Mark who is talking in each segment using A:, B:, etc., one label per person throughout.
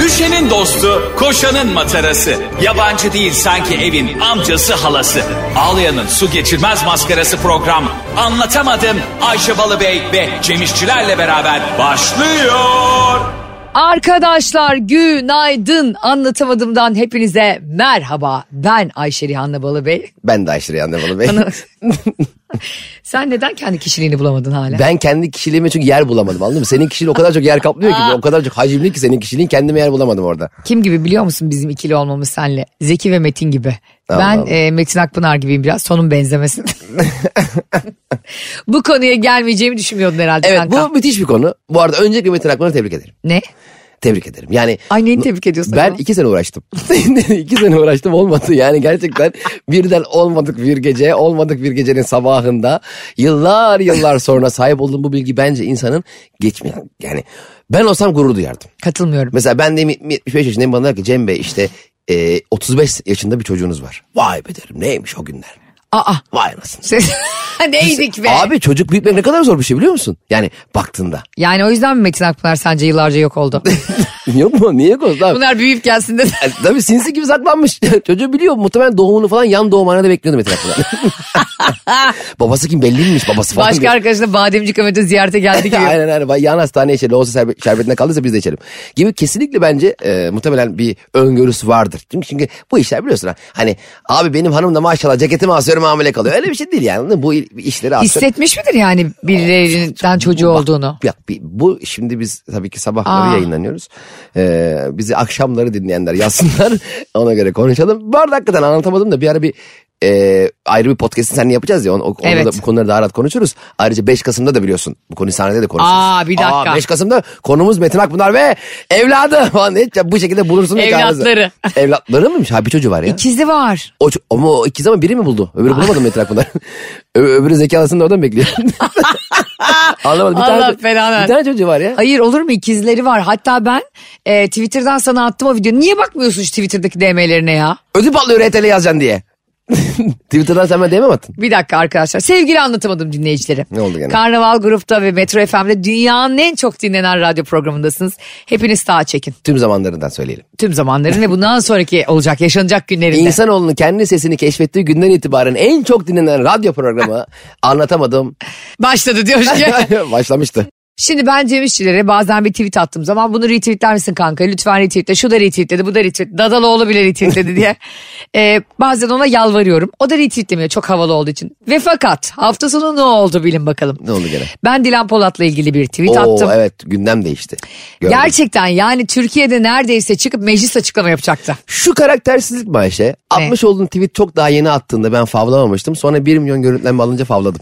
A: Düşenin dostu, koşanın matarası. Yabancı değil sanki evin amcası halası. Ağlayanın su geçirmez maskarası program. Anlatamadım Ayşe Balıbey ve Cemişçilerle beraber başlıyor.
B: Arkadaşlar günaydın anlatamadığımdan hepinize merhaba. Ben Ayşe Rihanna Balıbey.
C: Ben de aşırı yandım Anadolu Bey.
B: Sen neden kendi kişiliğini bulamadın hala?
C: ben kendi kişiliğime çünkü yer bulamadım anladın mı? Senin kişiliğin o kadar çok yer kaplıyor ki o kadar çok hacimli ki senin kişiliğin kendime yer bulamadım orada.
B: Kim gibi biliyor musun bizim ikili olmamız senle? Zeki ve Metin gibi. ben
C: Allah.
B: e, Metin Akpınar gibiyim biraz sonun benzemesin. Bu konuya gelmeyeceğimi düşünmüyordun herhalde
C: Evet
B: kanka.
C: bu müthiş bir konu. Bu arada öncelikle Metin Akman'ı tebrik ederim.
B: Ne?
C: Tebrik ederim. Yani
B: Ay neyini tebrik ediyorsun?
C: ben
B: acaba?
C: iki sene uğraştım. iki sene uğraştım olmadı. Yani gerçekten birden olmadık bir gece, olmadık bir gecenin sabahında yıllar yıllar sonra sahip olduğum bu bilgi bence insanın geçmiyor. Yani ben olsam gurur duyardım.
B: Katılmıyorum.
C: Mesela ben de 75 yaşındayım bana der ki Cem Bey işte e, 35 yaşında bir çocuğunuz var. Vay be derim neymiş o günler.
B: Aa.
C: Vay anasını.
B: sen- Neydik be?
C: Abi çocuk büyütmek ne kadar zor bir şey biliyor musun? Yani baktığında.
B: Yani o yüzden mi Metin Akpınar sence yıllarca yok oldu?
C: Yok mu? Niye konusu abi?
B: Bunlar büyüyüp gelsin de.
C: Yani Tabii sinsi gibi saklanmış. Çocuğu biliyor muhtemelen doğumunu falan yan doğumhanede bekliyordu Metin Akpınar. babası kim belli miymiş babası falan.
B: Başka arkadaşına Bademci Kamet'e ziyarete geldi gibi.
C: aynen aynen. Bak, Yan hastaneye içelim. Olsa şerbet, şerbetine kaldıysa biz de içelim. Gibi kesinlikle bence e, muhtemelen bir öngörüsü vardır. Çünkü, çünkü bu işler biliyorsun ha. Hani abi benim hanım da maşallah ceketimi asıyorum hamile kalıyor. Öyle bir şey değil yani. anladın mı? Bu il- işleri asıyorum.
B: Hissetmiş midir yani birilerinden çocuğu
C: Bak,
B: olduğunu?
C: bak, bir- bu şimdi biz tabii ki sabahları
B: Aa.
C: yayınlanıyoruz. Ee, bizi akşamları dinleyenler yazsınlar. ona göre konuşalım. Bu arada hakikaten anlatamadım da bir ara bir e, ayrı bir podcast'ini seninle yapacağız ya. Onu, onu
B: Evet.
C: da, bu konuları daha rahat konuşuruz. Ayrıca 5 Kasım'da da biliyorsun. Bu konuyu sahnede de konuşuruz.
B: Aa, bir dakika.
C: 5 Kasım'da konumuz Metin Akpınar ve evladı. Falan. Hiç bu şekilde bulursunuz.
B: Evlatları.
C: çağrınızı. Evlatları mıymış? Ha bir çocuğu var ya.
B: İkizi var.
C: O, ço- ama o ikiz ama biri mi buldu? Öbürü bulamadı Metin Akpınar. Ö- öbürü zekalısını da oradan bekliyor. Anlamadım. Bir
B: Allah
C: tane,
B: belanı ver.
C: Bir tane çocuğu var ya.
B: Hayır olur mu ikizleri var. Hatta ben e, Twitter'dan sana attım o videoyu. Niye bakmıyorsun şu Twitter'daki DM'lerine ya?
C: Ödü patlıyor RTL yazacaksın diye. Twitter'dan sen bana DM mi attın?
B: Bir dakika arkadaşlar. Sevgili anlatamadım dinleyicileri.
C: Ne oldu gene?
B: Karnaval Grup'ta ve Metro FM'de dünyanın en çok dinlenen radyo programındasınız. Hepiniz sağa çekin.
C: Tüm zamanlarından söyleyelim.
B: Tüm zamanların ve bundan sonraki olacak yaşanacak günlerinde.
C: İnsanoğlunun kendi sesini keşfettiği günden itibaren en çok dinlenen radyo programı anlatamadım.
B: Başladı diyor ki.
C: Başlamıştı.
B: Şimdi ben Cem İşçilere bazen bir tweet attığım zaman bunu retweetler misin kanka? Lütfen retweetle. Şu da retweetledi, bu da retweetledi. Dadaloğlu bile retweetledi diye. Ee, bazen ona yalvarıyorum. O da retweetlemiyor çok havalı olduğu için. Ve fakat hafta sonu ne oldu bilin bakalım.
C: Ne oldu gene?
B: Ben Dilan Polat'la ilgili bir tweet
C: Oo,
B: attım.
C: evet gündem değişti. Gördüm.
B: Gerçekten yani Türkiye'de neredeyse çıkıp meclis açıklama yapacaktı.
C: Şu karaktersizlik mi Ayşe? 60 olduğun tweet çok daha yeni attığında ben favlamamıştım. Sonra 1 milyon görüntülenme alınca favladım.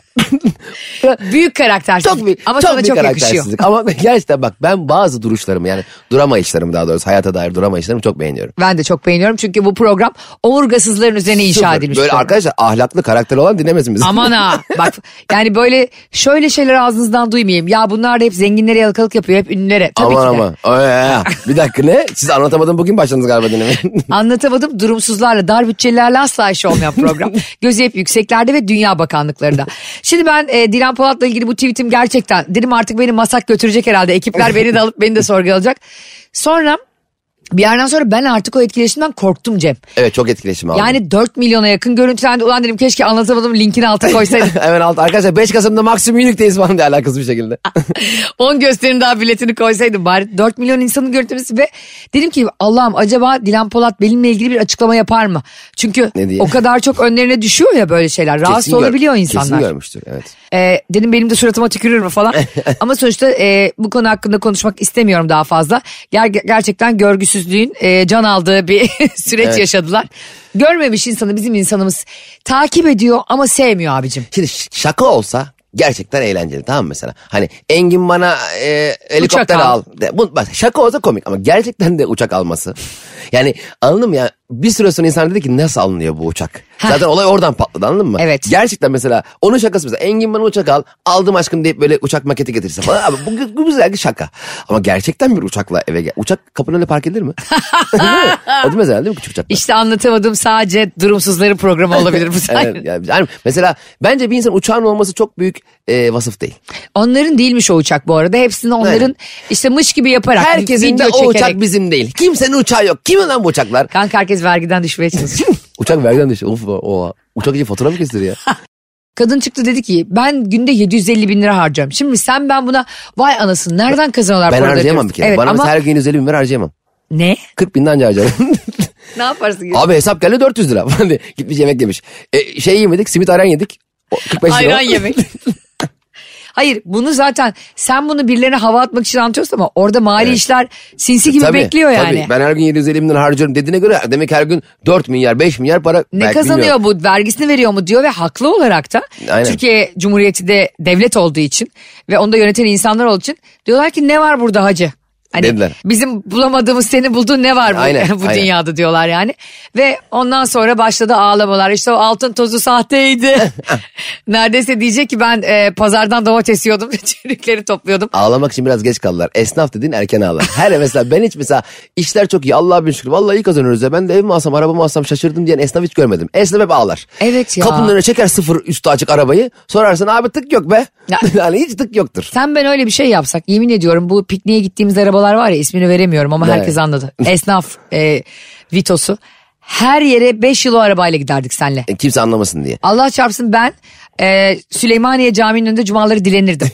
B: Büyük karaktersizlik.
C: Çok büyük,
B: Ama
C: çok
B: sana
C: büyük
B: çok yakışıyor.
C: karaktersizlik. Ama gerçekten bak ben bazı duruşlarımı yani duramayışlarımı daha doğrusu hayata dair duramayışlarımı çok beğeniyorum.
B: Ben de çok beğeniyorum çünkü bu program omurgasızların üzerine inşa
C: Sıfır.
B: edilmiş.
C: Böyle
B: program.
C: arkadaşlar ahlaklı karakter olan dinlemesin bizi.
B: şey. Aman ha bak yani böyle şöyle şeyler ağzınızdan duymayayım. Ya bunlar da hep zenginlere yalakalık yapıyor hep ünlülere. Tabii
C: aman
B: ki de.
C: aman. Ay, ay, ay. Bir dakika ne? Siz anlatamadım bugün başladınız galiba dinlemeye.
B: Anlatamadım durumsuzlarla dar bütçelerle asla iş olmayan program. Gözü hep yükseklerde ve dünya bakanlıklarında. Şimdi ben e, Dilan Polat'la ilgili bu tweetim gerçekten dedim artık beni masak götürecek herhalde. Ekipler beni de alıp beni de sorgulayacak. Sonra bir yerden sonra ben artık o etkileşimden korktum Cem.
C: evet çok etkileşim aldım.
B: Yani 4 milyona yakın görüntülendi. Ulan dedim keşke anlatamadım linkini alta koysaydım.
C: Hemen alt arkadaşlar 5 Kasım'da Maxim Unique'deyiz falan diye alakasız bir şekilde.
B: 10 gösterim daha biletini koysaydım bari. 4 milyon insanın görüntüsü ve dedim ki Allah'ım acaba Dilan Polat benimle ilgili bir açıklama yapar mı? Çünkü
C: Ne diye?
B: o kadar çok önlerine düşüyor ya böyle şeyler. Rahatsız
C: Kesin gör-
B: olabiliyor
C: Kesin
B: insanlar.
C: görmüştür evet.
B: Ee, dedim benim de suratıma tükürür mü falan. Ama sonuçta e, bu konu hakkında konuşmak istemiyorum daha fazla. Ger- gerçekten görgüsüzlüğün e, can aldığı bir süreç yaşadılar. Görmemiş insanı bizim insanımız takip ediyor ama sevmiyor abicim.
C: Şimdi ş- şaka olsa gerçekten eğlenceli tamam mı mesela? Hani Engin bana e, helikopter
B: Uçak al.
C: al. De- bu, bak, şaka olsa komik ama gerçekten de uçak alması. Yani anladın mı ya? bir süre sonra insan dedi ki nasıl alınıyor bu uçak? Zaten olay oradan patladı anladın mı?
B: Evet.
C: Gerçekten mesela onun şakası mesela Engin bana uçak al aldım aşkım deyip böyle uçak maketi getirse falan. Abi bu, bu güzel bir şaka. Ama gerçekten bir uçakla eve gel. Uçak kapının önüne park edilir mi? değil mi? Edilmez herhalde değil mi küçük uçakla?
B: İşte anlatamadım sadece durumsuzları programı olabilir bu sayede.
C: Evet, yani, yani mesela bence bir insan uçağın olması çok büyük e, vasıf değil.
B: Onların değilmiş o uçak bu arada. Hepsini onların
C: Aynen.
B: işte mış gibi yaparak
C: Herkesin de
B: video
C: o
B: çekerek.
C: uçak bizim değil. Kimsenin uçağı yok. Kimin lan bu uçaklar?
B: Kanka herkes vergiden düşmeye çalışıyor.
C: Uçak vergiden düşüyor. Of, oha. Uçak için fatura mı kesilir ya?
B: Kadın çıktı dedi ki ben günde 750 bin lira harcıyorum. Şimdi sen ben buna vay anasını nereden kazanıyorlar?
C: Ben
B: paraları
C: harcayamam
B: diyorsun.
C: bir kere.
B: Evet,
C: Bana
B: ama
C: mesela her gün 150 bin lira harcayamam.
B: ne?
C: 40 binden önce harcarım.
B: Ne yaparsın?
C: Abi hesap geldi 400 lira. falan diye. Gitmiş yemek yemiş. E, şey yemedik simit ayran yedik. O 45 lira.
B: Ayran yemek. Hayır bunu zaten sen bunu birilerine hava atmak için anlatıyorsun ama orada mali işler sinsi gibi
C: E, Tabii,
B: bekliyor
C: tabii.
B: yani.
C: Ben her gün 750 bin lira harcıyorum dediğine göre demek ki her gün 4 milyar 5 milyar para.
B: Ne
C: Belki
B: kazanıyor
C: bilmiyorum.
B: bu vergisini veriyor mu diyor ve haklı olarak da
C: Aynen.
B: Türkiye Cumhuriyeti de devlet olduğu için ve onu da yöneten insanlar olduğu için diyorlar ki ne var burada hacı? Hani
C: Dediler.
B: bizim bulamadığımız senin bulduğun ne var bu,
C: Aynen,
B: bu
C: aynen.
B: dünyada diyorlar yani. Ve ondan sonra başladı ağlamalar işte o altın tozu sahteydi. Neredeyse diyecek ki ben e, pazardan domates yiyordum çürükleri topluyordum.
C: Ağlamak için biraz geç kaldılar. Esnaf dediğin erken ağlar. Her mesela ben hiç mesela işler çok iyi Allah'a bin şükür. Vallahi iyi kazanıyoruz ya. Ben de evimi alsam arabamı alsam şaşırdım diyen esnaf hiç görmedim. Esnaf hep ağlar.
B: Evet ya.
C: Kapının önüne çeker sıfır üstü açık arabayı. Sorarsın abi tık yok be.
B: Ya.
C: yani hiç tık yoktur.
B: Sen ben öyle bir şey yapsak yemin ediyorum bu pikniğe gittiğimiz arabalar var ya ismini veremiyorum ama
C: Evet.
B: herkes anladı. Esnaf e, Vitos'u her yere 5 yıl o arabayla giderdik senle.
C: E, Kimse anlamasın diye.
B: Allah çarpsın ben e, Süleymaniye Camii'nin önünde cumaları dilenirdim.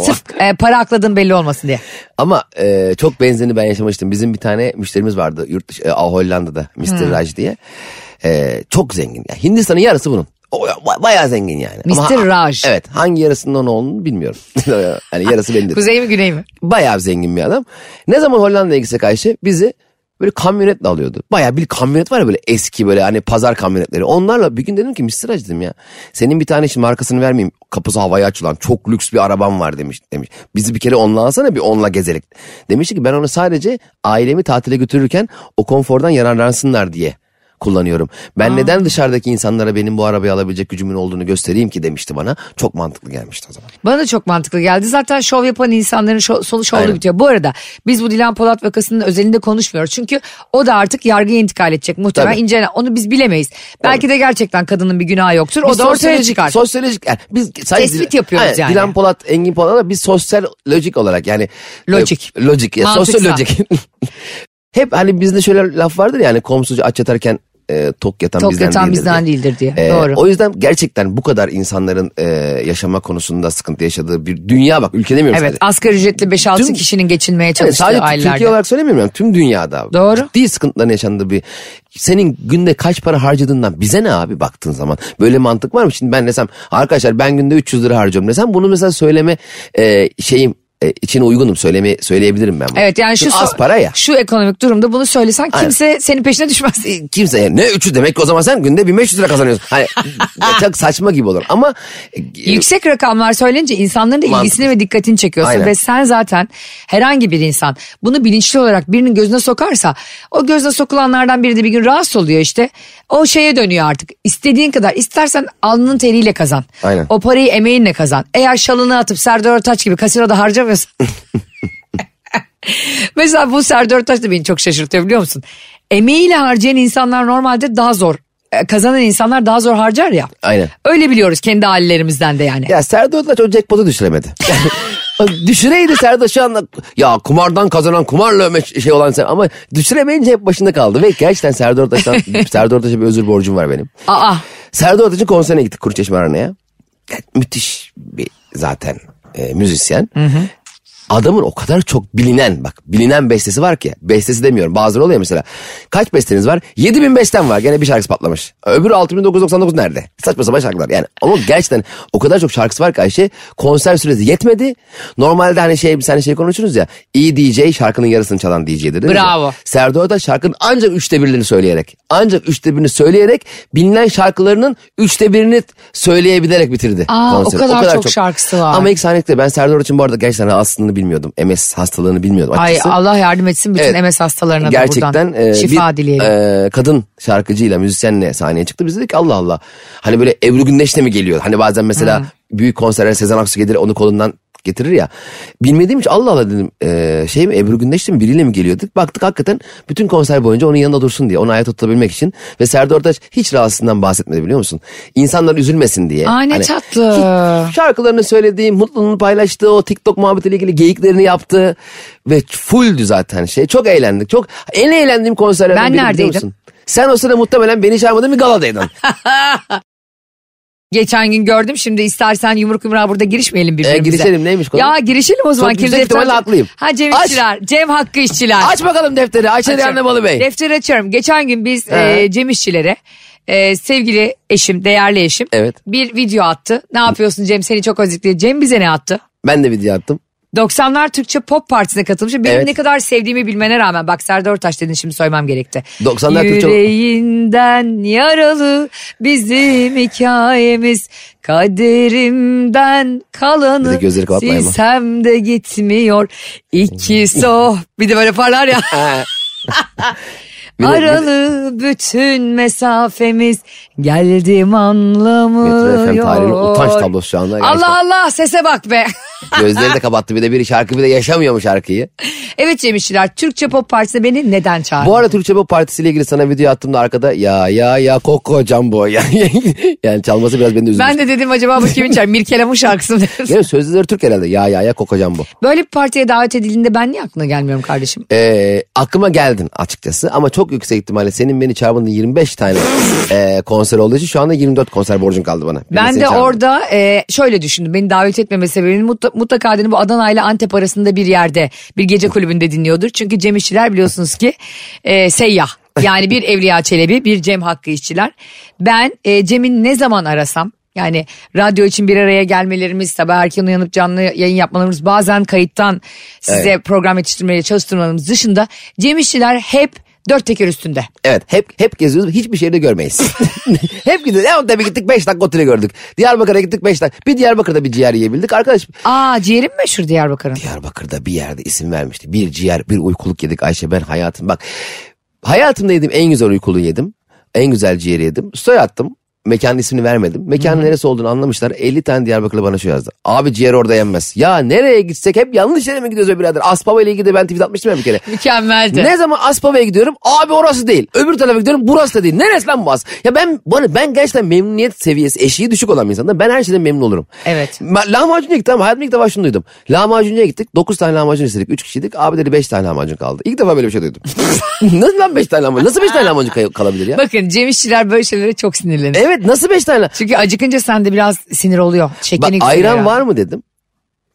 B: Sırf e, para akladığım belli olmasın diye.
C: Ama e, çok benzerini ben yaşamıştım. Bizim bir tane müşterimiz vardı yurt dışı, e, Hollanda'da Mr. Raj diye. E, çok zengin. Yani Hindistan'ın yarısı bunun. O, ba- bayağı zengin yani. Ama-
B: Mr. Raj.
C: Evet hangi yarısından olduğunu bilmiyorum. yani yarısı belli değil.
B: Kuzey mi güney mi?
C: Bayağı zengin bir adam. Ne zaman Hollanda'ya gitsek Ayşe bizi böyle kamyonetle alıyordu. Bayağı bir kamyonet var ya böyle eski böyle hani pazar kamyonetleri. Onlarla bir gün dedim ki Mr. Hacı dedim ya. Senin bir tane şimdi markasını vermeyeyim. Kapısı havaya açılan çok lüks bir arabam var demiş. demiş. Bizi bir kere onunla alsana bir onunla gezelim. Demişti ki ben onu sadece ailemi tatile götürürken o konfordan yararlansınlar diye kullanıyorum. Ben neden dışarıdaki insanlara benim bu arabayı alabilecek gücümün olduğunu göstereyim ki demişti bana. Çok mantıklı gelmişti o zaman.
B: Bana da çok mantıklı geldi. Zaten şov yapan insanların şo- sonu şovlu
C: Aynen.
B: bitiyor. Bu arada biz bu Dilan Polat vakasının özelinde konuşmuyoruz. Çünkü o da artık yargıya intikal edecek muhtemelen.
C: Tabii.
B: incelen- Onu biz bilemeyiz. Belki de gerçekten kadının bir günahı yoktur.
C: Biz
B: o da ortaya
C: sosyolojik-
B: çıkar.
C: Sosyolojik yani biz sadece
B: Tespit yapıyoruz yani.
C: Dilan Polat, Engin Polat'a biz sosyolojik olarak yani
B: Lojik.
C: e, lojik ya
B: Mantıksal.
C: sosyolojik. Hep hani bizde şöyle laf vardır yani komşucu aç yatarken e, tok yatan
B: Tok
C: bizden
B: yatan
C: değildir.
B: bizden
C: diye.
B: değildir diye.
C: E,
B: Doğru.
C: O yüzden gerçekten bu kadar insanların e, yaşama konusunda sıkıntı yaşadığı bir dünya bak ülke demiyorum
B: Evet
C: sadece.
B: asgari ücretli 5-6
C: Tüm-
B: kişinin geçinmeye
C: Yani
B: çalıştığı
C: sadece Türkiye
B: ailelerde.
C: olarak söylemiyorum yani tüm dünyada.
B: Doğru.
C: Ciddi sıkıntıların yaşandığı bir. Senin günde kaç para harcadığından bize ne abi baktığın zaman. Böyle mantık var mı? Şimdi ben desem arkadaşlar ben günde 300 lira harcıyorum desem bunu mesela söyleme e, şeyim e, içine uygunum söyleme söyleyebilirim ben bunu.
B: Evet yani şu
C: Çünkü az
B: so-
C: para ya.
B: Şu ekonomik durumda bunu söylesen kimse senin peşine düşmez.
C: E, Kimse yani ne 300 demek ki o zaman sen günde 1500 lira kazanıyorsun. Hani çok saçma gibi olur ama e,
B: Yüksek rakamlar söylenince insanların da
C: Mantıklı.
B: ilgisini ve dikkatini çekiyorsun
C: Aynen.
B: ve sen zaten herhangi bir insan bunu bilinçli olarak birinin gözüne sokarsa o gözüne sokulanlardan biri de bir gün rahatsız oluyor işte. O şeye dönüyor artık. İstediğin kadar istersen alnının teriyle kazan.
C: Aynen.
B: O parayı emeğinle kazan. Eğer şalını atıp Serdar Ortaç gibi kasinoda harcamıyorsan Mesela bu Serdar Taş da beni çok şaşırtıyor biliyor musun? Emeğiyle harcayan insanlar normalde daha zor. e, Kazanan insanlar daha zor harcar ya.
C: Aynen.
B: Öyle biliyoruz kendi ailelerimizden de yani.
C: Ya Serdar Ortaç o jackpot'u düşüremedi. Düşüreydi Serdar şu anda ya kumardan kazanan kumarla öme- şey olan sen ama düşüremeyince hep başında kaldı. Ve gerçekten Serdar Ortaç'tan Serdar Ortaç'a bir özür borcum var benim.
B: Aa
C: Serdar Ortaç'ın konserine gittik Kuruçeşme Arena'ya. Yani müthiş bir zaten e, müzisyen. Adamın o kadar çok bilinen bak bilinen bestesi var ki. Bestesi demiyorum bazıları oluyor mesela. Kaç besteniz var? 7000 bestem var gene bir şarkısı patlamış. Öbürü 6999 nerede? Saçma sapan şarkılar yani. Ama gerçekten o kadar çok şarkısı var ki Ayşe konser süresi yetmedi. Normalde hani şey sen şey konuşuruz ya. iyi DJ şarkının yarısını çalan DJ'dir. değil mi?
B: Bravo.
C: Serdar Ortaç şarkının ancak üçte birini söyleyerek, ancak üçte birini söyleyerek bilinen şarkılarının üçte birini söyleyebilerek bitirdi.
B: Aa, o kadar çok şarkısı var.
C: Ama ilk sahnede ben Serdar için bu arada gerçekten aslında bilmiyordum. MS hastalığını bilmiyordum
B: Ay
C: açıkçası.
B: Allah yardım etsin bütün
C: Evet.
B: MS hastalarına da
C: Gerçekten
B: buradan.
C: e,
B: Şifa
C: bir
B: dileyelim.
C: e, kadın şarkıcıyla müzisyenle sahneye çıktı. Biz dedik Allah Allah. Hani böyle Ebru Gündeş de mi geliyor? Hani bazen mesela büyük konserlere Sezen Aksu gelir onu kolundan getirir ya. Bilmediğim için Allah Allah dedim. e, şey mi Ebru Gündeş de mi biriyle mi geliyorduk? Baktık hakikaten bütün konser boyunca onun yanında dursun diye. Onu ayakta tutabilmek için. Ve Serdar Ortaç hiç rahatsızlığından bahsetmedi biliyor musun? İnsanlar üzülmesin diye.
B: Ay ne
C: Hani
B: tatlı.
C: hiç şarkılarını söylediği, mutluluğunu paylaştığı, o TikTok muhabbetiyle ilgili geyiklerini yaptı. Ve fulldü zaten şey. Çok eğlendik. Çok en eğlendiğim konserlerden
B: Ben
C: biri biliyor
B: neredeydim?
C: musun? Sen o sırada muhtemelen beni çağırmadın bir galadaydın.
B: Geçen gün gördüm şimdi istersen yumruk yumruğa burada girişmeyelim birbirimize.
C: E, girişelim, neymiş konu?
B: Ya girişelim o zaman.
C: Çok yüksek
B: Kirli defter-
C: ihtimalle haklıyım.
B: Ha Cem
C: Aç.
B: İşçiler, Cem Hakkı İşçiler.
C: Aç bakalım defteri. Ayşe
B: Açıyorum.
C: Diyanlı Balı Bey.
B: Defteri açıyorum. Geçen gün biz
C: He.
B: e, Cem İşçilere e, sevgili eşim, değerli eşim
C: Evet.
B: bir video attı. Ne yapıyorsun Cem seni çok özledik diye. Cem bize ne attı?
C: Ben de video attım.
B: 90'lar Türkçe Pop Partisi'ne katılmış. Benim
C: Evet.
B: ne kadar sevdiğimi bilmene rağmen bak Serdar Ortaç dedin şimdi söylemem gerekti.
C: 90'lar Türkçe-
B: Yüreğinden yaralı bizim hikayemiz kaderimden
C: Bir de
B: kalanı
C: gözleri kapatmayın mı? Hmm.
B: silsem de gitmiyor. İki soh bir de böyle parlar ya.
C: Bir de-
B: Aralı bütün mesafemiz geldim anlamıyor.
C: Metro FM tarihinin utanç tablosu şu anda.
B: Allah Allah sese bak be.
C: Gözleri de kapattı bir de bir şarkı bir de yaşamıyor mu şarkıyı?
B: Evet Cem İşçiler, Türkçe Pop Partisi'ne beni neden çağırdın?
C: Bu arada Türkçe Pop Partisi ile ilgili sana video attığımda arkada ya ya ya kokocam bu. Yani, yani çalması biraz beni de üzmüş.
B: Ben de dedim acaba bu kimin çağırdı? Mirkelam'ın şarkısı mı dedim.
C: Değil mi? Sözleri Türk herhalde. Ya ya ya kokocam bu.
B: Böyle bir partiye davet edildiğinde ben niye aklına gelmiyorum kardeşim?
C: Ee, aklıma geldin açıkçası ama çok yüksek ihtimalle senin beni çağırmadığın 25 tane e, konser olduğu için şu anda 24 konser borcun kaldı bana. Birini
B: Ben
C: seni
B: de
C: çağırmadım.
B: orada e, şöyle düşündüm. Beni davet etmeme sebebinin mutla- mutlaka dedim bu Adana ile Antep arasında bir yerde bir gece kulübünde dinliyordur. Çünkü Cem İşçiler biliyorsunuz ki e, seyyah. Yani bir Evliya Çelebi bir Cem Hakkı İşçiler. Ben e, Cem'in ne zaman arasam yani radyo için bir araya gelmelerimiz sabah erken uyanıp canlı yayın yapmalarımız bazen kayıttan size program yetiştirmeye çalıştırmalarımız dışında Cem İşçiler hep dört teker üstünde.
C: Evet hep hep geziyoruz hiçbir şeyde görmeyiz. hep gidiyoruz. Ya tabii gittik 5 dakika oteli gördük. Diyarbakır'a gittik 5 dakika. Bir Diyarbakır'da bir ciğer yiyebildik. Arkadaş
B: Aa ciğerim meşhur Diyarbakır'ın.
C: Diyarbakır'da bir yerde isim vermişti. Bir ciğer, bir uykuluk yedik Ayşe ben hayatım bak. Hayatımda yediğim en güzel uykuluğu yedim. En güzel ciğeri yedim. Story attım. Mekanın ismini vermedim. Mekanın neresi olduğunu anlamışlar. 50 tane Diyarbakırlı bana şu yazdı. Abi ciğer orada yenmez. Ya nereye gitsek hep yanlış yere mi gidiyoruz be birader? Aspava ile ilgili de ben tweet atmıştım ya bir kere.
B: Mükemmeldi.
C: Ne zaman Aspava'ya gidiyorum? Abi orası değil. Öbür tarafa gidiyorum burası da değil. Neresi lan bu As? Ya ben bana, ben gerçekten memnuniyet seviyesi eşiği düşük olan bir insanım. Ben her şeyden memnun olurum.
B: Evet.
C: Ma- lahmacuncuya gittim. ama Hayatımda ilk defa şunu duydum. Lahmacuncuya gittik. 9 tane lahmacun istedik. 3 kişiydik. Abi dedi 5 tane lahmacun kaldı. İlk defa böyle bir şey duydum. nasıl lan 5 tane lahmacun? Nasıl 5 tane lahmacun kay- kalabilir ya?
B: Bakın Cem İşçiler böyle şeylere çok sinirlenir.
C: Evet nasıl 5 tane? lah-
B: Çünkü acıkınca sende biraz sinir oluyor.
C: Bak,
B: Şeklini
C: ayran var mı dedim.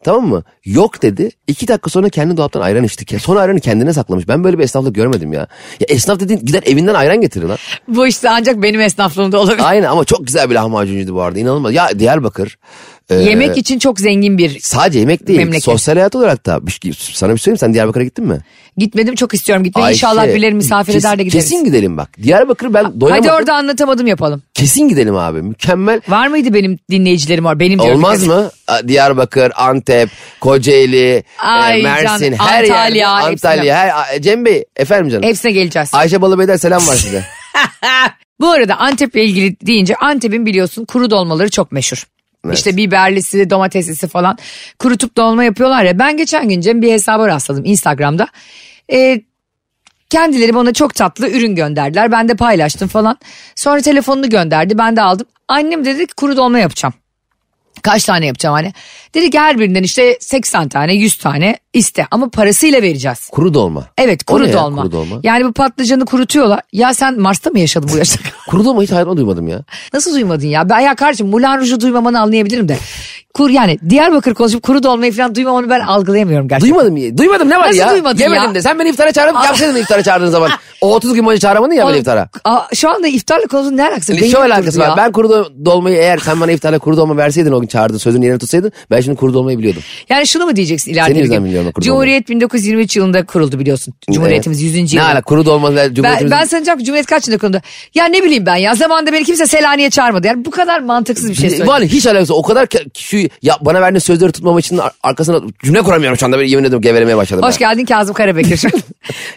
C: Tamam mı? Yok dedi. İki dakika sonra kendi dolaptan ayran içtik ya. Sonra ayranı kendine saklamış. Ben böyle bir esnaflık görmedim ya. Ya esnaf dediğin gider evinden ayran getirir lan.
B: Bu işte ancak benim esnaflığımda olabilir.
C: Aynen ama çok güzel bir lahmacuncuydu bu arada. İnanılmaz. Ya Diyarbakır e,
B: Yemek için çok zengin bir.
C: sadece yemek değil.
B: Memleket.
C: Sosyal hayat olarak da. Bir şey- sana bir söyleyeyim sen Diyarbakır'a gittin mi?
B: Gitmedim çok istiyorum gitmeyi.
C: Ayşe,
B: İnşallah birileri misafir
C: şey, kesin-
B: eder de gideriz.
C: Kesin gidelim bak. Diyarbakır ben doyamadım.
B: Hadi orada anlatamadım yapalım.
C: Kesin gidelim abi. Mükemmel.
B: Var mıydı benim dinleyicilerim var? Benim diyorum.
C: Olmaz mı? A, Diyarbakır, Antep, Kocaeli,
B: Ay
C: e, Mersin,
B: canım,
C: her
B: Antalya,
C: yer.
B: hepsine.
C: Antalya. Her, A, Cem Bey, efendim canım.
B: Hepsine geleceğiz.
C: Ayşe Balıbey'den selam var size.
B: Bu arada Antep'le ilgili deyince Antep'in biliyorsun kuru dolmaları çok meşhur.
C: Evet.
B: İşte biberlisi, domateslisi falan kurutup dolma yapıyorlar ya. Ben geçen gün Cem bir hesaba rastladım Instagram'da. Ee, kendileri bana çok tatlı ürün gönderdiler. Ben de paylaştım falan. Sonra telefonunu gönderdi. Ben de aldım. Annem dedi ki kuru dolma yapacağım. Kaç tane yapacağım anne? Dedi ki her birinden işte 80 tane 100 tane iste ama parasıyla vereceğiz.
C: Kuru dolma.
B: Evet
C: O ne
B: kuru
C: ya,
B: dolma.
C: kuru dolma?
B: Yani bu patlıcanı kurutuyorlar. Ya sen Mars'ta mı yaşadın bu yaşta?
C: Kuru dolma hiç hayran duymadım ya.
B: Nasıl duymadın ya? Ben ya kardeşim Moulin Rouge'u duymamanı anlayabilirim de. Kur yani Diyarbakır konuşup kuru dolmayı falan duymamanı ben algıylayamıyorum gerçekten.
C: Duymadım ya. Duymadım ne var
B: Nasıl
C: ya?
B: duymadın ya?
C: Yemedim de. Sen beni iftara çağırıp yapsaydın iftara çağırdığın zaman. O 30 gün boyunca çağıramadın ya beni
B: Oğlum,
C: iftara.
B: Aa, şu anda iftarla konusunun ne alakası?
C: Şimdi
B: Beynim
C: şöyle alakası
B: durdu ya.
C: var. Ben kuru do- dolmayı eğer sen bana iftarla kuru dolma verseydin o gün çağırdın sözünü yerine tutsaydın ben şimdi kuru dolmayı biliyordum.
B: Yani şunu mu diyeceksin ileride
C: Senin
B: bir
C: yüzünden
B: gün?
C: biliyorum kurulu
B: Cumhuriyet 1923 yılında kuruldu biliyorsun. Cumhuriyetimiz 100.
C: Ee, Ne
B: yılında.
C: ala kuru dolma ve
B: Ben,
C: cumhuriyetimizin...
B: ben sanacağım ki Cumhuriyet kaç yılında kuruldu? Ya ne bileyim ben ya zamanında beni kimse Selanik'e çağırmadı. Yani bu kadar mantıksız bir şey
C: Vallahi
B: söylüyorum.
C: hiç alakası o kadar ki- şu ya bana verdiğin sözleri tutmam için ar- arkasına cümle kuramıyorum şu anda böyle yemin ediyorum geveremeye başladım.
B: Hoş
C: ben.
B: geldin Kazım Karabekir.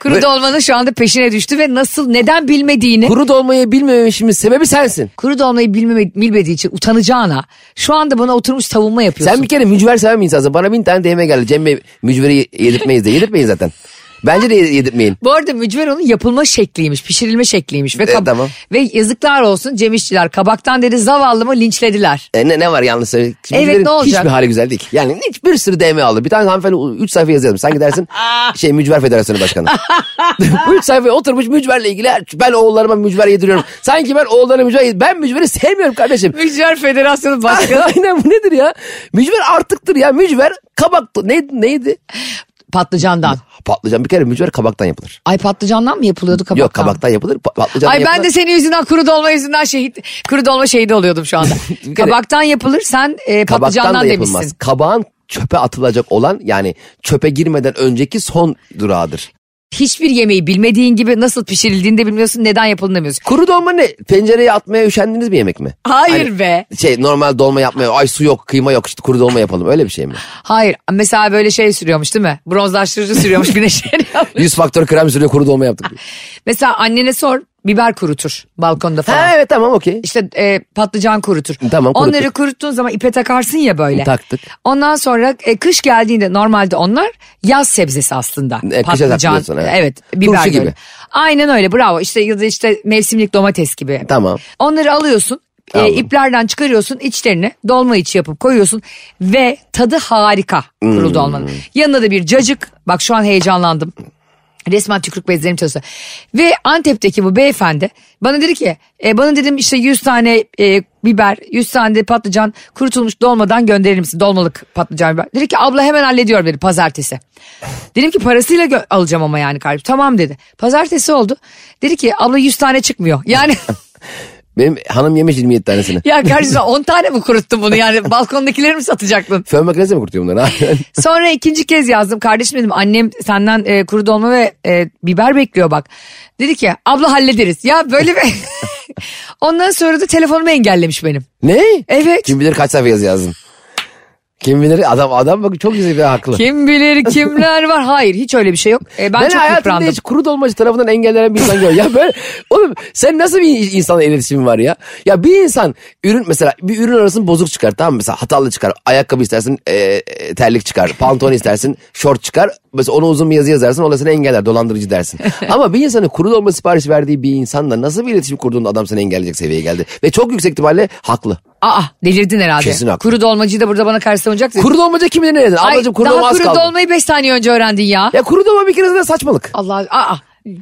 B: Kuru
C: Böyle-
B: dolmanın şu anda peşine düştü ve nasıl neden bilmediğini
C: Kuru dolmayı bilmemişimin sebebi sensin.
B: kuru dolmayı bilmeme, bilmediği için utanacağına şu anda bana oturmuş savunma yapıyorsun.
C: Sen bir kere mücver seven bir insansın. Bana bin tane DM geldi. Cem Bey mücveri yedirtmeyiz de. Yedirtmeyin zaten. Bence de yedirtmeyin.
B: Bu arada mücver onun yapılma şekliymiş, pişirilme şekliymiş. Ve,
C: E,
B: kab-
C: tamam.
B: ve yazıklar olsun Cem İşçiler kabaktan dedi zavallımı linçlediler.
C: E ne, ne var yanlış söyle. Şimdi
B: Evet,
C: mücverin
B: ne olacak?
C: Hiçbir hali güzel değil. Yani hiç bir sürü DM aldı. Bir tane hanımefendi 3 sayfa yazı yazmış. Sen gidersin şey Mücver Federasyonu Başkanı. Bu 3 sayfaya oturmuş mücverle ilgili. her- Ben oğullarıma mücver yediriyorum. Sanki ben oğullarıma mücver yediriyorum. Ben mücveri sevmiyorum kardeşim.
B: Mücver Federasyonu Başkanı
C: Aynen bu nedir ya? Mücver artıktır ya. Mücver kabak neydi? neydi?
B: patlıcandan.
C: Patlıcan bir kere mücver kabaktan yapılır.
B: Ay patlıcandan mı yapılıyordu kabaktan?
C: Yok kabaktan yapılır. pa- Patlıcandan
B: Ay ben
C: yapılır.
B: de senin yüzünden kuru dolma yüzünden şehit kuru dolma şehidi oluyordum şu anda. kabaktan yapılır sen e,
C: Kabaktan da
B: patlıcandan
C: yapılmaz.
B: demişsin.
C: Kabağın çöpe atılacak olan yani çöpe girmeden önceki son durağıdır.
B: Hiçbir yemeği bilmediğin gibi nasıl pişirildiğini de bilmiyorsun neden yapıldığını da bilmiyorsun.
C: Kuru dolma ne? Pencereye atmaya üşendiniz bir yemek mi?
B: Hayır
C: Hani
B: be.
C: Şey normal dolma yapmaya ay su yok kıyma yok işte kuru dolma yapalım öyle bir şey mi?
B: Hayır mesela böyle şey sürüyormuş değil mi? Bronzlaştırıcı sürüyormuş güneşleniyor.
C: 100 faktör krem sürüyor kuru dolma yaptık.
B: mesela annene sor biber kurutur balkonda falan.
C: ha evet tamam okey.
B: İşte e, patlıcan kurutur.
C: Tamam, kuruttuk.
B: Onları kuruttuğun zaman ipe takarsın ya böyle.
C: Taktık.
B: Ondan sonra e, kış geldiğinde normalde onlar yaz sebzesi aslında.
C: E, kışa saklıyorsun, evet.
B: evet. Biber
C: Turşu
B: böyle.
C: gibi.
B: Aynen öyle bravo. İşte ya da işte mevsimlik domates gibi.
C: Tamam.
B: Onları alıyorsun. e,
C: Aldım.
B: iplerden çıkarıyorsun içlerini dolma içi yapıp koyuyorsun ve tadı harika kurulu
C: Hmm.
B: dolmanın. Yanına da bir cacık bak şu an heyecanlandım. Resmen tükürük bezlerim çalıştı. Ve Antep'teki bu beyefendi bana dedi ki e, bana dedim işte 100 tane e, biber 100 tane de patlıcan kurutulmuş dolmadan gönderir misin? Dolmalık patlıcan biber. Dedi ki abla hemen hallediyorum dedi pazartesi. Dedim ki parasıyla gö- alacağım ama yani kardeşim. Tamam dedi. Pazartesi oldu. Dedi ki abla 100 tane çıkmıyor. Yani
C: Benim hanım yemiş 27 tanesini.
B: ya kardeşim 10 tane mi kuruttun bunu yani balkondakileri mi satacaktın?
C: Fön makinesi mi kurutuyor bunları?
B: Sonra ikinci kez yazdım kardeşim dedim annem senden e, kuru dolma ve e, biber bekliyor bak. Dedi ki abla hallederiz. Ya böyle bir... Ondan sonra da telefonumu engellemiş benim.
C: ne?
B: Evet.
C: Kim bilir kaç sayfa yazı yazdın. Kim bilir adam adam bak çok güzel bir haklı.
B: Kim bilir kimler var. Hayır hiç öyle bir şey yok. E, ben,
C: Ben,
B: çok
C: hayatımda
B: yıprandım.
C: hiç kuru dolmacı tarafından engellenen bir insan görmedim. ya böyle oğlum sen nasıl bir insanla iletişimin var ya? Ya bir insan ürün mesela bir ürün arasında bozuk çıkar tamam mı? Mesela hatalı çıkar. Ayakkabı istersin e, e, terlik çıkar. Pantolon istersin şort çıkar. Mesela ona uzun bir yazı yazarsın. O da seni engeller dolandırıcı dersin. Ama bir insanın kuru dolma siparişi verdiği bir insanla nasıl bir iletişim kurduğunda adam seni engelleyecek seviyeye geldi. Ve çok yüksek ihtimalle haklı.
B: Aa delirdin herhalde.
C: Kesin haklı.
B: Kuru dolmacıyı da burada bana karşı savunacaksın.
C: Kuru dolmacı kim bilir ne dedin?
B: Ay,
C: Ablacığım kuru
B: daha
C: dolma az
B: kuru
C: kaldı.
B: dolmayı 5 saniye önce öğrendin ya.
C: Ya kuru dolma bir kere zaten saçmalık.
B: Allah aa.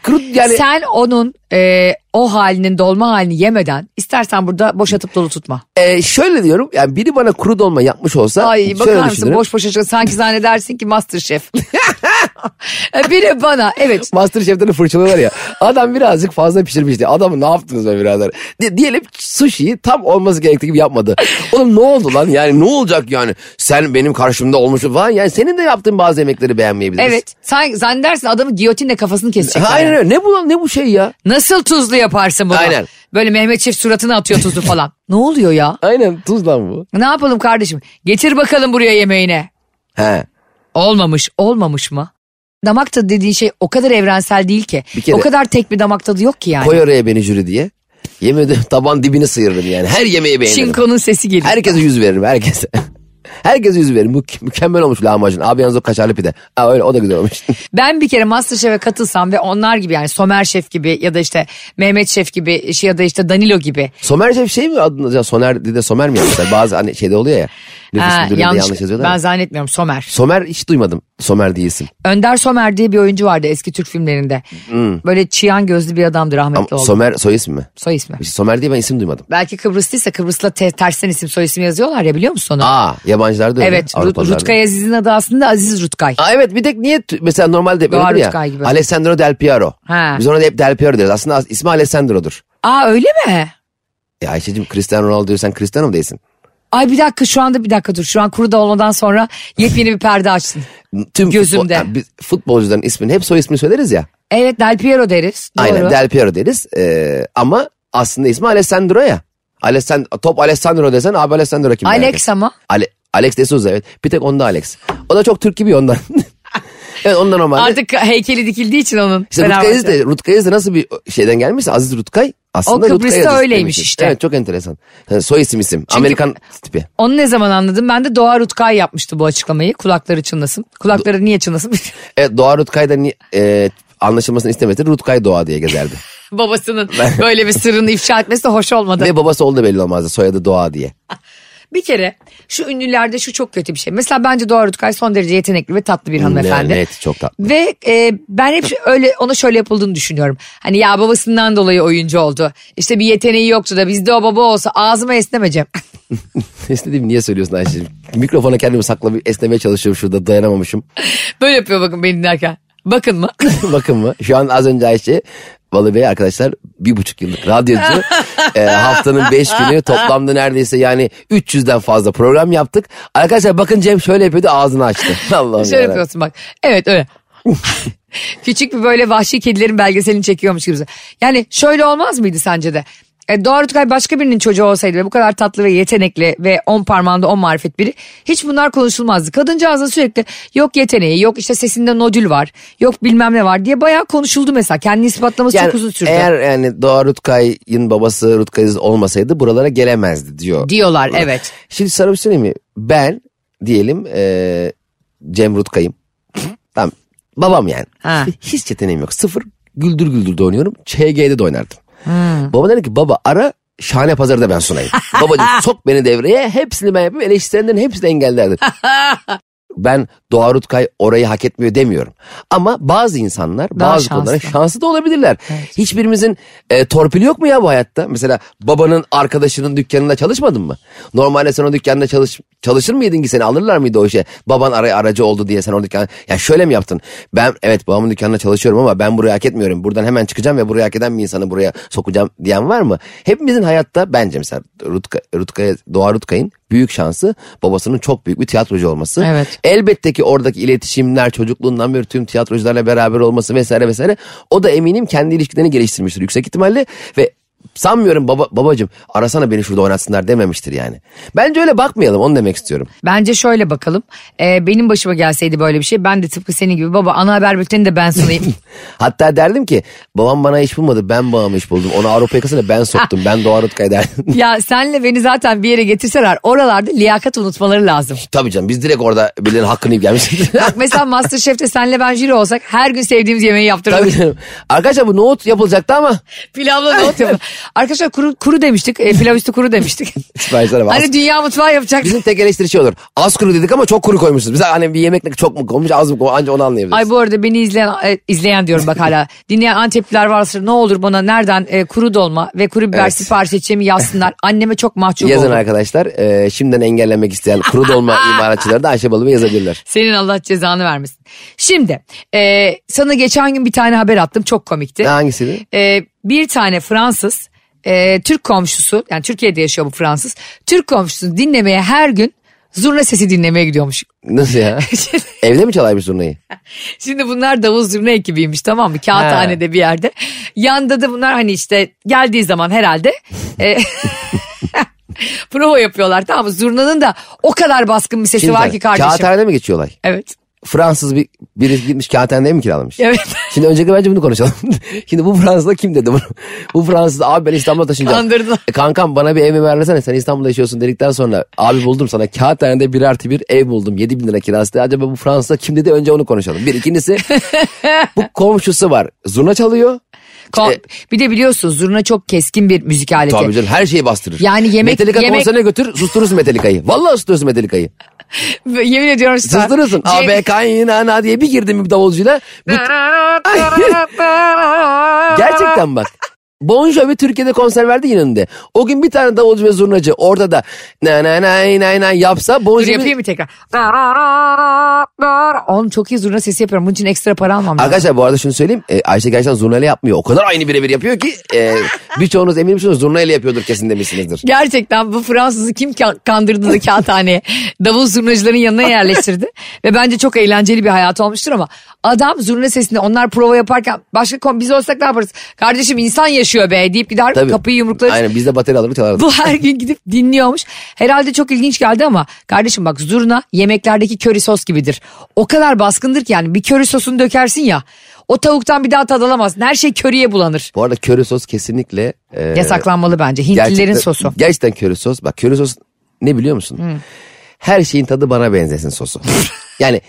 C: Kuru, yani
B: Sen onun e, o halinin dolma halini yemeden istersen burada boş atıp dolu tutma.
C: Ee, şöyle diyorum yani biri bana kuru dolma yapmış olsa
B: Ay
C: şöyle
B: bakar mısın
C: düşünürüm.
B: boş boş açık sanki zannedersin ki Masterchef. E, Biri bana evet
C: Masterchef'te de fırçalıyorlar ya. Adam birazcık fazla pişirmişti. Adamı ne yaptınız be birader? Di- diyelim sushi'yi tam olması gerektiği gibi yapmadı. Oğlum ne oldu lan? Yani ne olacak yani? Sen benim karşımda olmuşsun falan. Yani senin de yaptığın bazı yemekleri beğenmeyebiliriz.
B: evet sen zannedersin adamı giyotinle kafasını kesecek.
C: Aynen öyle. Ne bu lan? Ne bu şey ya?
B: Nasıl tuzlu yaparsın bunu?
C: Aynen.
B: Böyle Mehmet Çift suratını atıyor tuzlu falan. ne oluyor ya?
C: Aynen tuz lan bu.
B: Ne yapalım kardeşim? Getir bakalım buraya yemeğine.
C: He.
B: Olmamış, olmamış mı? Damak tadı dediğin şey o kadar evrensel değil ki.
C: Bir kere-
B: o kadar tek bir damak tadı yok ki yani.
C: Koy oraya beni jüri diye. Yemin ediyorum taban dibini sıyırırım yani. Her yemeği beğenirim.
B: Çinko'nun sesi geliyor.
C: Herkese yüz veririm herkese. Herkese yüz veririm. Mü- mükemmel olmuş lahmacun. Abi yalnız o kaşarlı pide. Aa, öyle o da güzel olmuş.
B: Ben bir kere Masterchef'e katılsam ve onlar gibi yani Somer Şef gibi ya da işte Mehmet Şef gibi şey ya da işte Danilo gibi.
C: Somer Şef şey mi adını acaba Soner dedi Somer mi yapmışlar? Bazı hani şeyde oluyor ya. Nefis
B: Ha,
C: müdürü diye yanlış yazıyorlar.
B: ben
C: ya.
B: zannetmiyorum Somer.
C: Somer hiç duymadım. Somer diye isim.
B: Önder Somer diye bir oyuncu vardı eski Türk filmlerinde. Böyle çiyan gözlü bir adamdı
C: Hmm. Ama
B: rahmetli oldu.
C: Somer soy ismi mi?
B: Soy ismi.
C: Somer diye ben isim duymadım.
B: Belki Kıbrıslıysa Kıbrıs'la te- tersten isim soy isim yazıyorlar ya biliyor musun onu?
C: Aa yabancılar da öyle.
B: evet Ru-
C: Avrupalılar da.
B: Rutkay Aziz'in adı aslında Aziz Rutkay.
C: Aa, evet bir tek niye t- mesela normalde
B: Doğa
C: böyle ya.
B: Rutkay gibi.
C: Alessandro Del Piero.
B: Ha.
C: Biz ona da hep Del Piero diyoruz. Aslında as- ismi Alessandro'dur.
B: Aa öyle mi?
C: Ya Ayşe'cim Cristiano Ronaldo diyorsan Cristiano mu değilsin?
B: Ay bir dakika şu anda bir dakika dur. Şu an kuru da olmadan sonra yepyeni bir perde açtın.
C: Tüm
B: Gözümde.
C: Futbol, Ha, biz futbolcuların ismini hep soy ismini söyleriz ya.
B: Evet Del Piero deriz. Doğru.
C: Aynen Del Piero deriz. Ee, ama aslında ismi Alessandro ya. Alessandro, top Alessandro desen abi Alessandro kim? merak
B: Alex
C: etsin?
B: ama.
C: Ale, Alex de Souza evet. Bir tek onda Alex. O da çok Türk gibi ondan. evet ondan normalde.
B: Artık heykeli dikildiği için onun.
C: İşte
B: Fenerbahçe.
C: Rutkay Aziz de, Rutkay Aziz de nasıl bir şeyden gelmişse Aziz Rutkay aslında
B: O Kıbrıs'ta
C: Rutkay Aziz
B: öyleymiş
C: demişiz.
B: işte.
C: Evet çok enteresan. Yani soy isim isim. Amerikan tipi.
B: Onu ne zaman anladım? Ben de Doğa Rutkay yapmıştı bu açıklamayı. Kulakları çınlasın. Kulakları niye çınlasın?
C: Evet Doğa Rutkay da ni- e, anlaşılmasını istemedi. Rutkay Doğa diye gezerdi.
B: Babasının böyle bir sırrını ifşa etmesi de hoş olmadı.
C: Ve babası oldu belli olmazdı. Soyadı Doğa diye.
B: Bir kere şu ünlülerde şu çok kötü bir şey. Mesela bence Doğa Rutkay son derece yetenekli ve tatlı bir hanımefendi.
C: Yani net çok tatlı.
B: Ve e, ben hep öyle ona şöyle yapıldığını düşünüyorum. Hani ya babasından dolayı oyuncu oldu. İşte bir yeteneği yoktu da bizde o baba olsa ağzıma esnemeyeceğim.
C: İstediğim niye söylüyorsun Ayşe'cim? Mikrofona kendimi sakla esnemeye çalışıyorum şurada dayanamamışım.
B: böyle yapıyor bakın beni dinlerken. Bakın mı?
C: Bakın mı? Şu an az önce Ayşe Balı Bey arkadaşlar bir buçuk yıllık radyocu. Ee, haftanın beş günü toplamda neredeyse yani 300'den fazla program yaptık. Arkadaşlar bakın Cem şöyle yapıyordu ağzını açtı. Allah'ım
B: Şöyle
C: yarabbim.
B: Şey yapıyorsun bak. Evet öyle. Küçük bir böyle vahşi kedilerin belgeselini çekiyormuş gibi. Yani şöyle olmaz mıydı sence de? E, Doğa Rutkay başka birinin çocuğu olsaydı ve bu kadar tatlı ve yetenekli ve on parmağında on marifet biri hiç bunlar konuşulmazdı. Kadıncağızın sürekli yok yeteneği yok işte sesinde nodül var yok bilmem ne var diye bayağı konuşuldu mesela. Kendini ispatlaması
C: Yani
B: çok uzun sürdü.
C: Eğer yani Doğa Rutkay'ın babası Rutkay Aziz olmasaydı buralara gelemezdi diyor.
B: Diyorlar evet.
C: Şimdi sana bir şey söyleyeyim mi? Ben diyelim eee Cem Rutkay'ım. tamam. Babam yani.
B: Ha.
C: Hiç yeteneğim yok. Sıfır. Güldür güldür de oynuyorum. ÇG'de de oynardım.
B: Hmm.
C: Baba dedi ki baba ara şahane pazarda ben sunayım. Babacığım sok beni devreye hepsini ben yapayım eleştirenlerin hepsini engellerdim. ben Doğa Rutkay orayı hak etmiyor demiyorum. Ama bazı insanlar
B: Daha
C: bazı konulara
B: şanslı.
C: şanslı da olabilirler. Hiçbirimizin e, torpili yok mu ya bu hayatta? Mesela babanın arkadaşının dükkanında çalışmadın mı? Normalde sen o dükkanda çalış, çalışır mıydın ki seni alırlar mıydı o işe? Baban araya aracı oldu diye sen o dükkanda... Ya şöyle mi yaptın? Ben evet babamın dükkanında çalışıyorum ama ben burayı hak etmiyorum. Buradan hemen çıkacağım ve burayı hak eden bir insanı buraya sokacağım diyen var mı? Hepimizin hayatta bence mesela Rutka, Rutkaya, Doğa Rutkay'ın büyük şansı babasının çok büyük bir tiyatrocu olması.
B: Evet.
C: Elbette ki oradaki iletişimler çocukluğundan beri tüm tiyatrocularla beraber olması vesaire vesaire. O da eminim kendi ilişkilerini geliştirmiştir yüksek ihtimalle ve sanmıyorum baba, babacım arasana beni şurada oynatsınlar dememiştir yani. Bence öyle bakmayalım onu demek istiyorum.
B: Bence şöyle bakalım. E, benim başıma gelseydi böyle bir şey ben de tıpkı senin gibi baba ana haber bülteni de ben sunayım.
C: Hatta derdim ki babam bana iş bulmadı ben babama iş buldum. Onu Avrupa yakasına ben soktum ben Doğu Rutkaya derdim.
B: Ya senle beni zaten bir yere getirseler oralarda liyakat unutmaları lazım.
C: Tabii canım biz direkt orada birilerinin hakkını yiyip gelmişiz.
B: Bak mesela Masterchef'te senle ben jüri olsak her gün sevdiğimiz yemeği
C: Tabii
B: yaptırırdık.
C: canım. Arkadaşlar bu nohut yapılacaktı ama
B: Pilavla nohut yapalım. Arkadaşlar kuru, kuru demiştik. E, pilav üstü kuru demiştik.
C: Siparişlere bak.
B: hani dünya mutfağı yapacaktık.
C: Bizim tek eleştiri şey olur. Az kuru dedik ama çok kuru koymuşuz. Bize hani bir yemek çok mu koymuş az mı koymuş anca onu anlayabiliriz.
B: Ay bu arada beni izleyen e, izleyen diyorum bak hala. Dinleyen Antepliler varsa ne olur bana nereden e, kuru dolma ve kuru biber
C: Evet.
B: sipariş edeceğimi yazsınlar. Anneme çok mahcup
C: Yazın
B: oldum.
C: arkadaşlar. Ee, şimdiden engellemek isteyen kuru dolma imaratçıları da Ayşe Balıbı yazabilirler.
B: Senin Allah cezanı vermesin. Şimdi e, sana geçen gün bir tane haber attım çok komikti.
C: Ne hangisiydi?
B: Ee, bir tane Fransız e, Türk komşusu yani Türkiye'de yaşıyor bu Fransız Türk komşusunu dinlemeye her gün zurna sesi dinlemeye gidiyormuş.
C: Nasıl ya?
B: Şey-
C: Evde mi çalaymış zurnayı?
B: Şimdi bunlar davul zurna ekibiymiş tamam mı kağıthanede bir yerde. Yanda da bunlar hani işte geldiği zaman herhalde e, prova yapıyorlar tamam mı? Zurnanın da o kadar baskın bir sesi var ki kardeşim.
C: Kağıthanede mi geçiyor olay?
B: Evet.
C: Fransız bir, biri gitmiş kağıthanede mi kiralamış?
B: Evet.
C: Şimdi öncelikle bence bunu konuşalım. Şimdi bu Fransız'da kim dedi bunu? Bu Fransız abi ben İstanbul'a taşınacağım.
B: Kandırdı.
C: E, kankam bana bir ev mi versene sen İstanbul'da yaşıyorsun dedikten sonra abi buldum sana kağıthanede bir artı bir ev buldum 7 bin lira kirası diye. Acaba bu Fransız'da kim dedi önce onu konuşalım. Bir ikincisi bu komşusu var zurna çalıyor.
B: Ko- bir de biliyorsunuz zurna çok keskin bir müzik aleti.
C: Tabii canım her şeyi bastırır.
B: Yani yemek-
C: Metallica
B: yemek-
C: konserine götür susturursun Metallica'yı. Vallahi susturursun Metallica'yı.
B: Ve Yemin ediyorum size.
C: Susturursun.
B: Cem-
C: AB kaynana diye bir girdim bir davulcuyla. Bir- Gerçekten bak. Bon Jovi Türkiye'de konser verdi yine önünde. O gün bir tane davulcu ve zurnacı orada da na na na na na yapsa Bon
B: Dur
C: Jovi...
B: yapayım mı tekrar? Oğlum çok iyi zurna sesi yapıyorum. Bunun için ekstra para almam lazım.
C: Arkadaşlar bu arada şunu söyleyeyim. e, Ayşe gerçekten zurnayla yapmıyor. O kadar aynı birebir yapıyor ki e, birçoğunuz eminim misiniz zurnayla yapıyordur kesin demişsinizdir.
B: Gerçekten bu Fransız'ı kim ka- kandırdı da kağıthaneye davul zurnacıların yanına yerleştirdi. Ve bence çok eğlenceli bir hayat olmuştur ama adam zurna sesinde onlar prova yaparken başka kom biz olsak ne yaparız? Kardeşim insan yaşıyor be deyip gider
C: Tabii.
B: kapıyı yumruklarız.
C: Aynen biz de bateri alırız çalardık.
B: Bu her gün gidip dinliyormuş. Herhalde çok ilginç geldi ama kardeşim bak zurna yemeklerdeki köri sos gibidir. O kadar baskındır ki yani bir köri sosunu dökersin ya o tavuktan bir daha tad alamazsın. Her şey köriye bulanır.
C: Bu arada köri sos kesinlikle... e,
B: Yasaklanmalı bence Hintlilerin
C: gerçekten-
B: sosu.
C: Gerçekten köri sos. Bak köri sos ne biliyor musun? Her şeyin tadı bana benzesin sosu. yani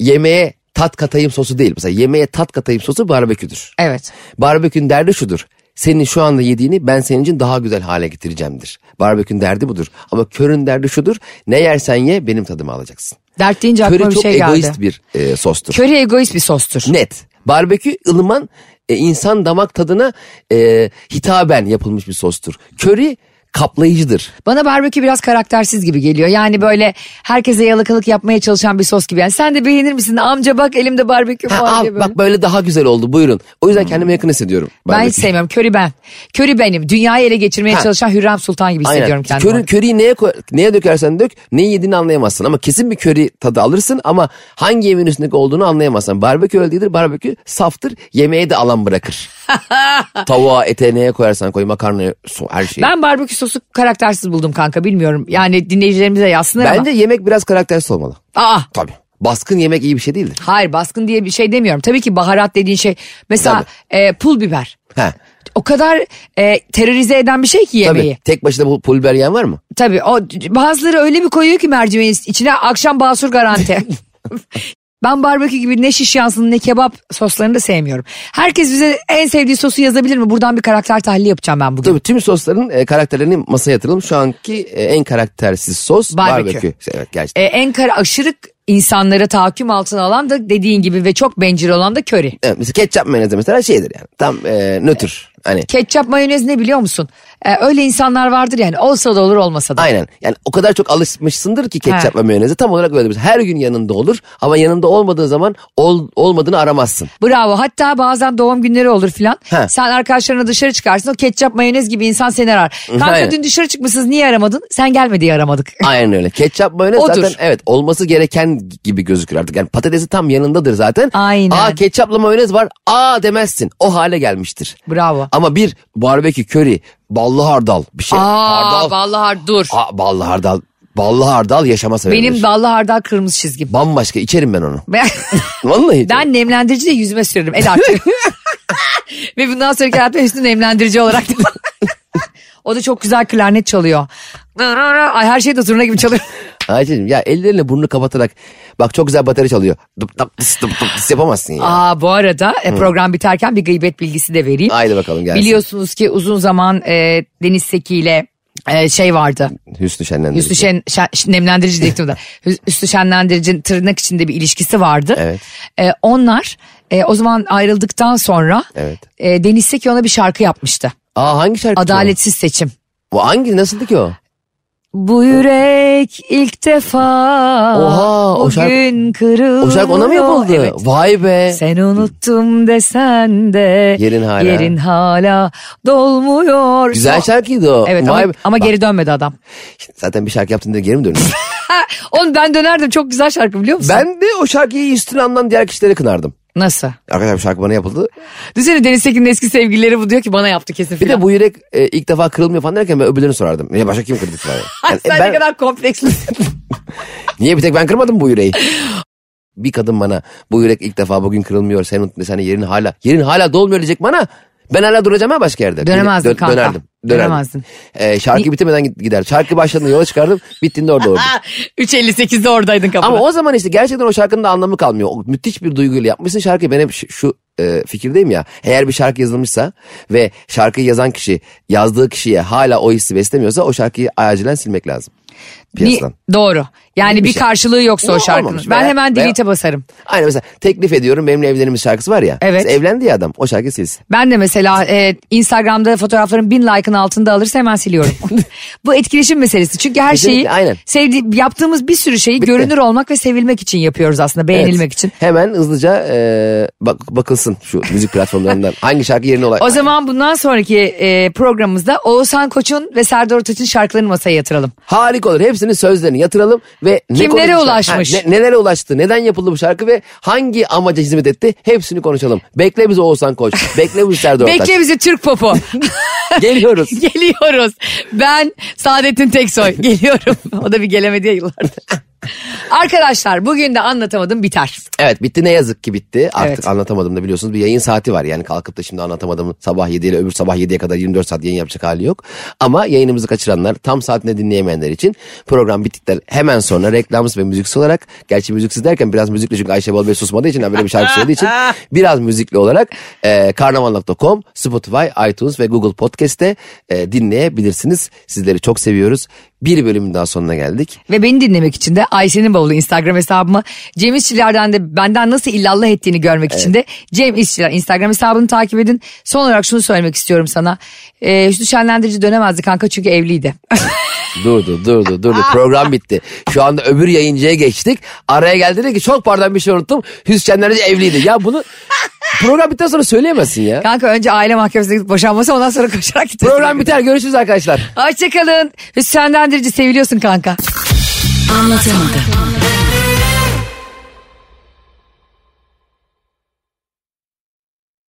C: yemeğe tat katayım sosu değil. Mesela yemeğe tat katayım sosu barbeküdür.
B: Evet.
C: Barbekün derdi şudur. Senin şu anda yediğini ben senin için daha güzel hale getireceğimdir. Barbekün derdi budur. Ama körün derdi şudur. Ne yersen ye benim tadımı alacaksın.
B: Dert deyince aklıma
C: Köri
B: bir
C: çok
B: şey
C: egoist
B: geldi.
C: bir e, sostur.
B: Köri egoist bir sostur.
C: Net. Barbekü ılıman e, insan damak tadına e, hitaben yapılmış bir sostur. Köri kaplayıcıdır.
B: Bana barbekü biraz karaktersiz gibi geliyor. Yani böyle herkese yalakalık yapmaya çalışan bir sos gibi. Yani sen de beğenir misin? Amca bak elimde barbekü
C: Ha,
B: var
C: al,
B: diye böyle.
C: bak böyle daha güzel oldu buyurun. O yüzden kendime yakın hissediyorum.
B: Hmm. Ben
C: barbekü.
B: hiç sevmiyorum. Köri ben. Köri benim. Dünyayı ele geçirmeye
C: Ha.
B: çalışan Hürrem Sultan gibi hissediyorum kendimi.
C: Köri, köriyi neye, koy- neye dökersen dök neyi yediğini anlayamazsın. Ama kesin bir köri tadı alırsın ama hangi yemeğin üstündeki olduğunu anlayamazsın. Barbekü öyle değildir. Barbekü saftır. Yemeğe de alan bırakır. Tavuğa, ete neye koyarsan koy. Makarnaya, so- her şeyi.
B: Ben barbekü sosu karaktersiz buldum kanka bilmiyorum. Yani dinleyicilerimize yazsınlar ama.
C: Bence yemek biraz karaktersiz olmalı.
B: Aa,
C: Tabii. Baskın yemek iyi bir şey değildir.
B: hayır baskın diye bir şey demiyorum. Tabii ki baharat dediğin şey. Mesela e, pul biber.
C: Ha.
B: O kadar e, terörize eden bir şey ki
C: Tabii.
B: yemeği.
C: Tek başına bu pul biber yiyen var mı?
B: Tabii o bazıları öyle bir koyuyor ki mercimeğin içine akşam basur garanti. ben barbekü gibi ne şiş yansın ne kebap soslarını da sevmiyorum. Herkes bize en sevdiği sosu yazabilir mi? Buradan bir karakter tahlili yapacağım ben bugün.
C: Tabii tüm sosların e, karakterlerini masaya yatıralım. Şu anki e, en karaktersiz sos
B: Barbekü.
C: barbekü. Evet gerçekten.
B: Ee, en kar aşırı insanları tahakküm altına alan da dediğin gibi ve çok bencil olan da köri.
C: Evet, mesela ketçap mayonezi mesela şeydir yani. Tam e, nötr. Hani
B: Ketçap mayonez ne biliyor musun? Ee, öyle insanlar vardır yani olsa da olur olmasa da.
C: Aynen. Yani o kadar çok alışmışsındır ki ketçap
B: Ha.
C: ve mayoneze tam olarak öyledir. Her gün yanında olur ama yanında olmadığı zaman ol, olmadığını aramazsın.
B: Bravo hatta bazen doğum günleri olur filan.
C: Ha.
B: Sen arkadaşlarına dışarı çıkarsın o ketçap mayonez gibi insan seni arar. Kanka
C: Aynen.
B: dün dışarı çıkmışsınız niye aramadın? Sen gelme diye aramadık.
C: Aynen öyle. Ketçap mayonez
B: Odur.
C: zaten evet olması gereken gibi gözükür artık. Yani patatesi tam yanındadır zaten.
B: Aynen.
C: Aa ketçapla mayonez var. Aa demezsin. O hale gelmiştir.
B: Bravo.
C: Ama bir barbekü köri, ballı hardal bir şey.
B: Aa
C: hardal.
B: vallahi dur.
C: Aa, ballı hardal. Ballı hardal yaşama sebebidir.
B: Benim ballı hardal kırmızı çizgim.
C: Bambaşka içerim ben onu.
B: Ben,
C: Vallahi içerim.
B: ben nemlendirici de yüzüme sürerim. El artık. Ve bundan sonraki hayatımda üstü nemlendirici olarak da. o da çok güzel klarnet çalıyor. Ay her şey de zurna gibi çalıyor.
C: Ayşe'cim ya ellerine burnunu kapatarak bak çok güzel bateri çalıyor. Dıp dıp dıs dıp dıp dıs yapamazsın ya.
B: Aa bu arada e, program biterken bir gıybet bilgisi de vereyim.
C: Haydi bakalım gelsin.
B: Biliyorsunuz ki uzun zaman e, Deniz Seki ile e, şey vardı.
C: Hüsnü Şenlendirici.
B: Hüsnü Şen, Şen- Ş- nemlendirici diyecektim de. Hü- Hüsnü Şenlendirici'nin tırnak içinde bir ilişkisi vardı.
C: Evet.
B: E, onlar e, o zaman ayrıldıktan sonra
C: Evet.
B: e, Deniz Seki ona bir şarkı yapmıştı.
C: Aa hangi şarkı?
B: Adaletsiz seçim.
C: Bu hangi nasıldı ki o?
B: Bu yürek ilk defa
C: Oha, o şarkı-
B: bugün kırılıyor.
C: O şarkı ona mı yapıldı?
B: Evet.
C: Vay be.
B: Sen unuttum desen de
C: Yerin hala.
B: yerin hala dolmuyor.
C: Güzel
B: Son-
C: şarkıydı o.
B: Evet
C: Vay
B: ama,
C: be.
B: ama
C: Bak,
B: geri dönmedi adam.
C: Zaten bir şarkı yaptın diye geri mi dönüyorsun?
B: Oğlum ben dönerdim çok güzel şarkı biliyor musun?
C: ben de o şarkıyı üstüne alınan diğer kişileri kınardım.
B: Nasıl?
C: Arkadaşlar bu şarkı bana yapıldı.
B: Düşünsene Deniz Tekin'in eski sevgilileri bu diyor ki bana yaptı kesin
C: Bir
B: filan.
C: de bu yürek e, ilk defa kırılmıyor falan derken ben öbürlerini sorardım. Ya başka kim kırdı falan? Yani,
B: Sen
C: ben-
B: ne kadar komplekslisin.
C: Niye bir tek ben kırmadım bu yüreği? bir kadın bana bu yürek ilk defa bugün kırılmıyor. Senin, senin yerin hala yerin hala dolmuyor diyecek bana. Ben hala duracağım ha başka yerde.
B: Dönemezdin kanka.
C: Dönerdim.
B: Dönemezdin.
C: Dönemezdin. Ee, şarkı bitirmeden git- gider. Şarkı başladığında yola çıkardım. Bittiğinde orada olurdum.
B: 3.58'de oradaydın kapıda.
C: Ama o zaman işte gerçekten o şarkının da anlamı kalmıyor. O müthiş bir duyguyla yapmışsın şarkıyı. Ben hep şu, şu e, fikirdeyim ya. Eğer bir şarkı yazılmışsa ve şarkıyı yazan kişi yazdığı kişiye hala o hissi beslemiyorsa o şarkıyı acilen silmek lazım. Piyasadan.
B: Ni- doğru. Yani bir,
C: şey.
B: karşılığı yoksa o
C: Yok,
B: şarkının.
C: olmamış.
B: Ben
C: Veya-
B: hemen
C: veya-
B: delete'e basarım.
C: Aynen mesela teklif ediyorum benimle evlenimiz şarkısı var ya.
B: Evet.
C: Mesela Evlendi ya adam o şarkıyı silsin.
B: Ben de mesela e, Instagram'da fotoğrafların bin like'ın altında alırsa hemen siliyorum. Bu etkileşim meselesi. Çünkü her
C: Kesinlikle,
B: şeyi
C: aynen.
B: sevdi, yaptığımız bir sürü şeyi görünür olmak ve sevilmek için yapıyoruz aslında. Beğenilmek
C: Evet.
B: için.
C: Hemen hızlıca e, bak, bakılsın şu müzik platformlarından. Hangi şarkı yerine olay.
B: O zaman bundan sonraki e, programımızda Oğuzhan Koç'un ve Serdar Ortaç'ın şarkılarını masaya yatıralım.
C: Harika olur. Hepsinin sözlerini yatıralım ve ne
B: Kimlere
C: konuşmuşlar?
B: ulaşmış?
C: Ha, ne- nelere ulaştı? Neden yapıldı bu şarkı ve hangi amaca hizmet etti? Hepsini konuşalım. Bekle bizi Oğuzhan Koç. Bekle bizi Serdar Ortaç.
B: Bekle bizi Türk popu.
C: Geliyoruz.
B: Geliyoruz. Ben Saadettin Teksoy. Geliyorum. O da bir gelemedi ya yıllardır. Arkadaşlar bugün de anlatamadım biter.
C: Evet bitti ne yazık ki bitti. Artık
B: Evet.
C: anlatamadım da biliyorsunuz bir yayın saati var. Yani kalkıp da şimdi anlatamadım sabah 7 ile öbür sabah 7'ye kadar 24 saat yayın yapacak hali yok. Ama yayınımızı kaçıranlar tam saatinde dinleyemeyenler için program bittikten hemen sonra reklamsız ve müziksiz olarak. Gerçi müziksiz derken biraz müzikli çünkü Ayşe Balbey susmadığı için ha, böyle bir şarkı söylediği için biraz müzikli olarak e, karnaval.com, Spotify, iTunes ve Google Podcast'te e, dinleyebilirsiniz. Sizleri çok seviyoruz. Bir bölümün daha sonuna geldik.
B: Ve beni dinlemek için de Ayşe'nin bavulu Instagram hesabıma Cem İşçiler'den de benden nasıl illallah ettiğini görmek için de Cem İşçiler Instagram hesabını takip edin. Son olarak şunu söylemek istiyorum sana. Ee, Hüsnü Şenlendirici dönemezdi kanka çünkü evliydi.
C: Durdu durdu durdu program bitti. Şu anda öbür yayıncıya geçtik. Araya geldi dedi ki çok pardon bir şey unuttum. Hüsnenlerce evliydi. Ya bunu program bittikten sonra söyleyemezsin ya.
B: kanka önce aile mahkemesine gidip boşanması ondan sonra koşarak gitti.
C: Program biter görüşürüz arkadaşlar.
B: Hoşçakalın. Hüsnü Şenlendirici seviliyorsun kanka.
D: Anlatamadım.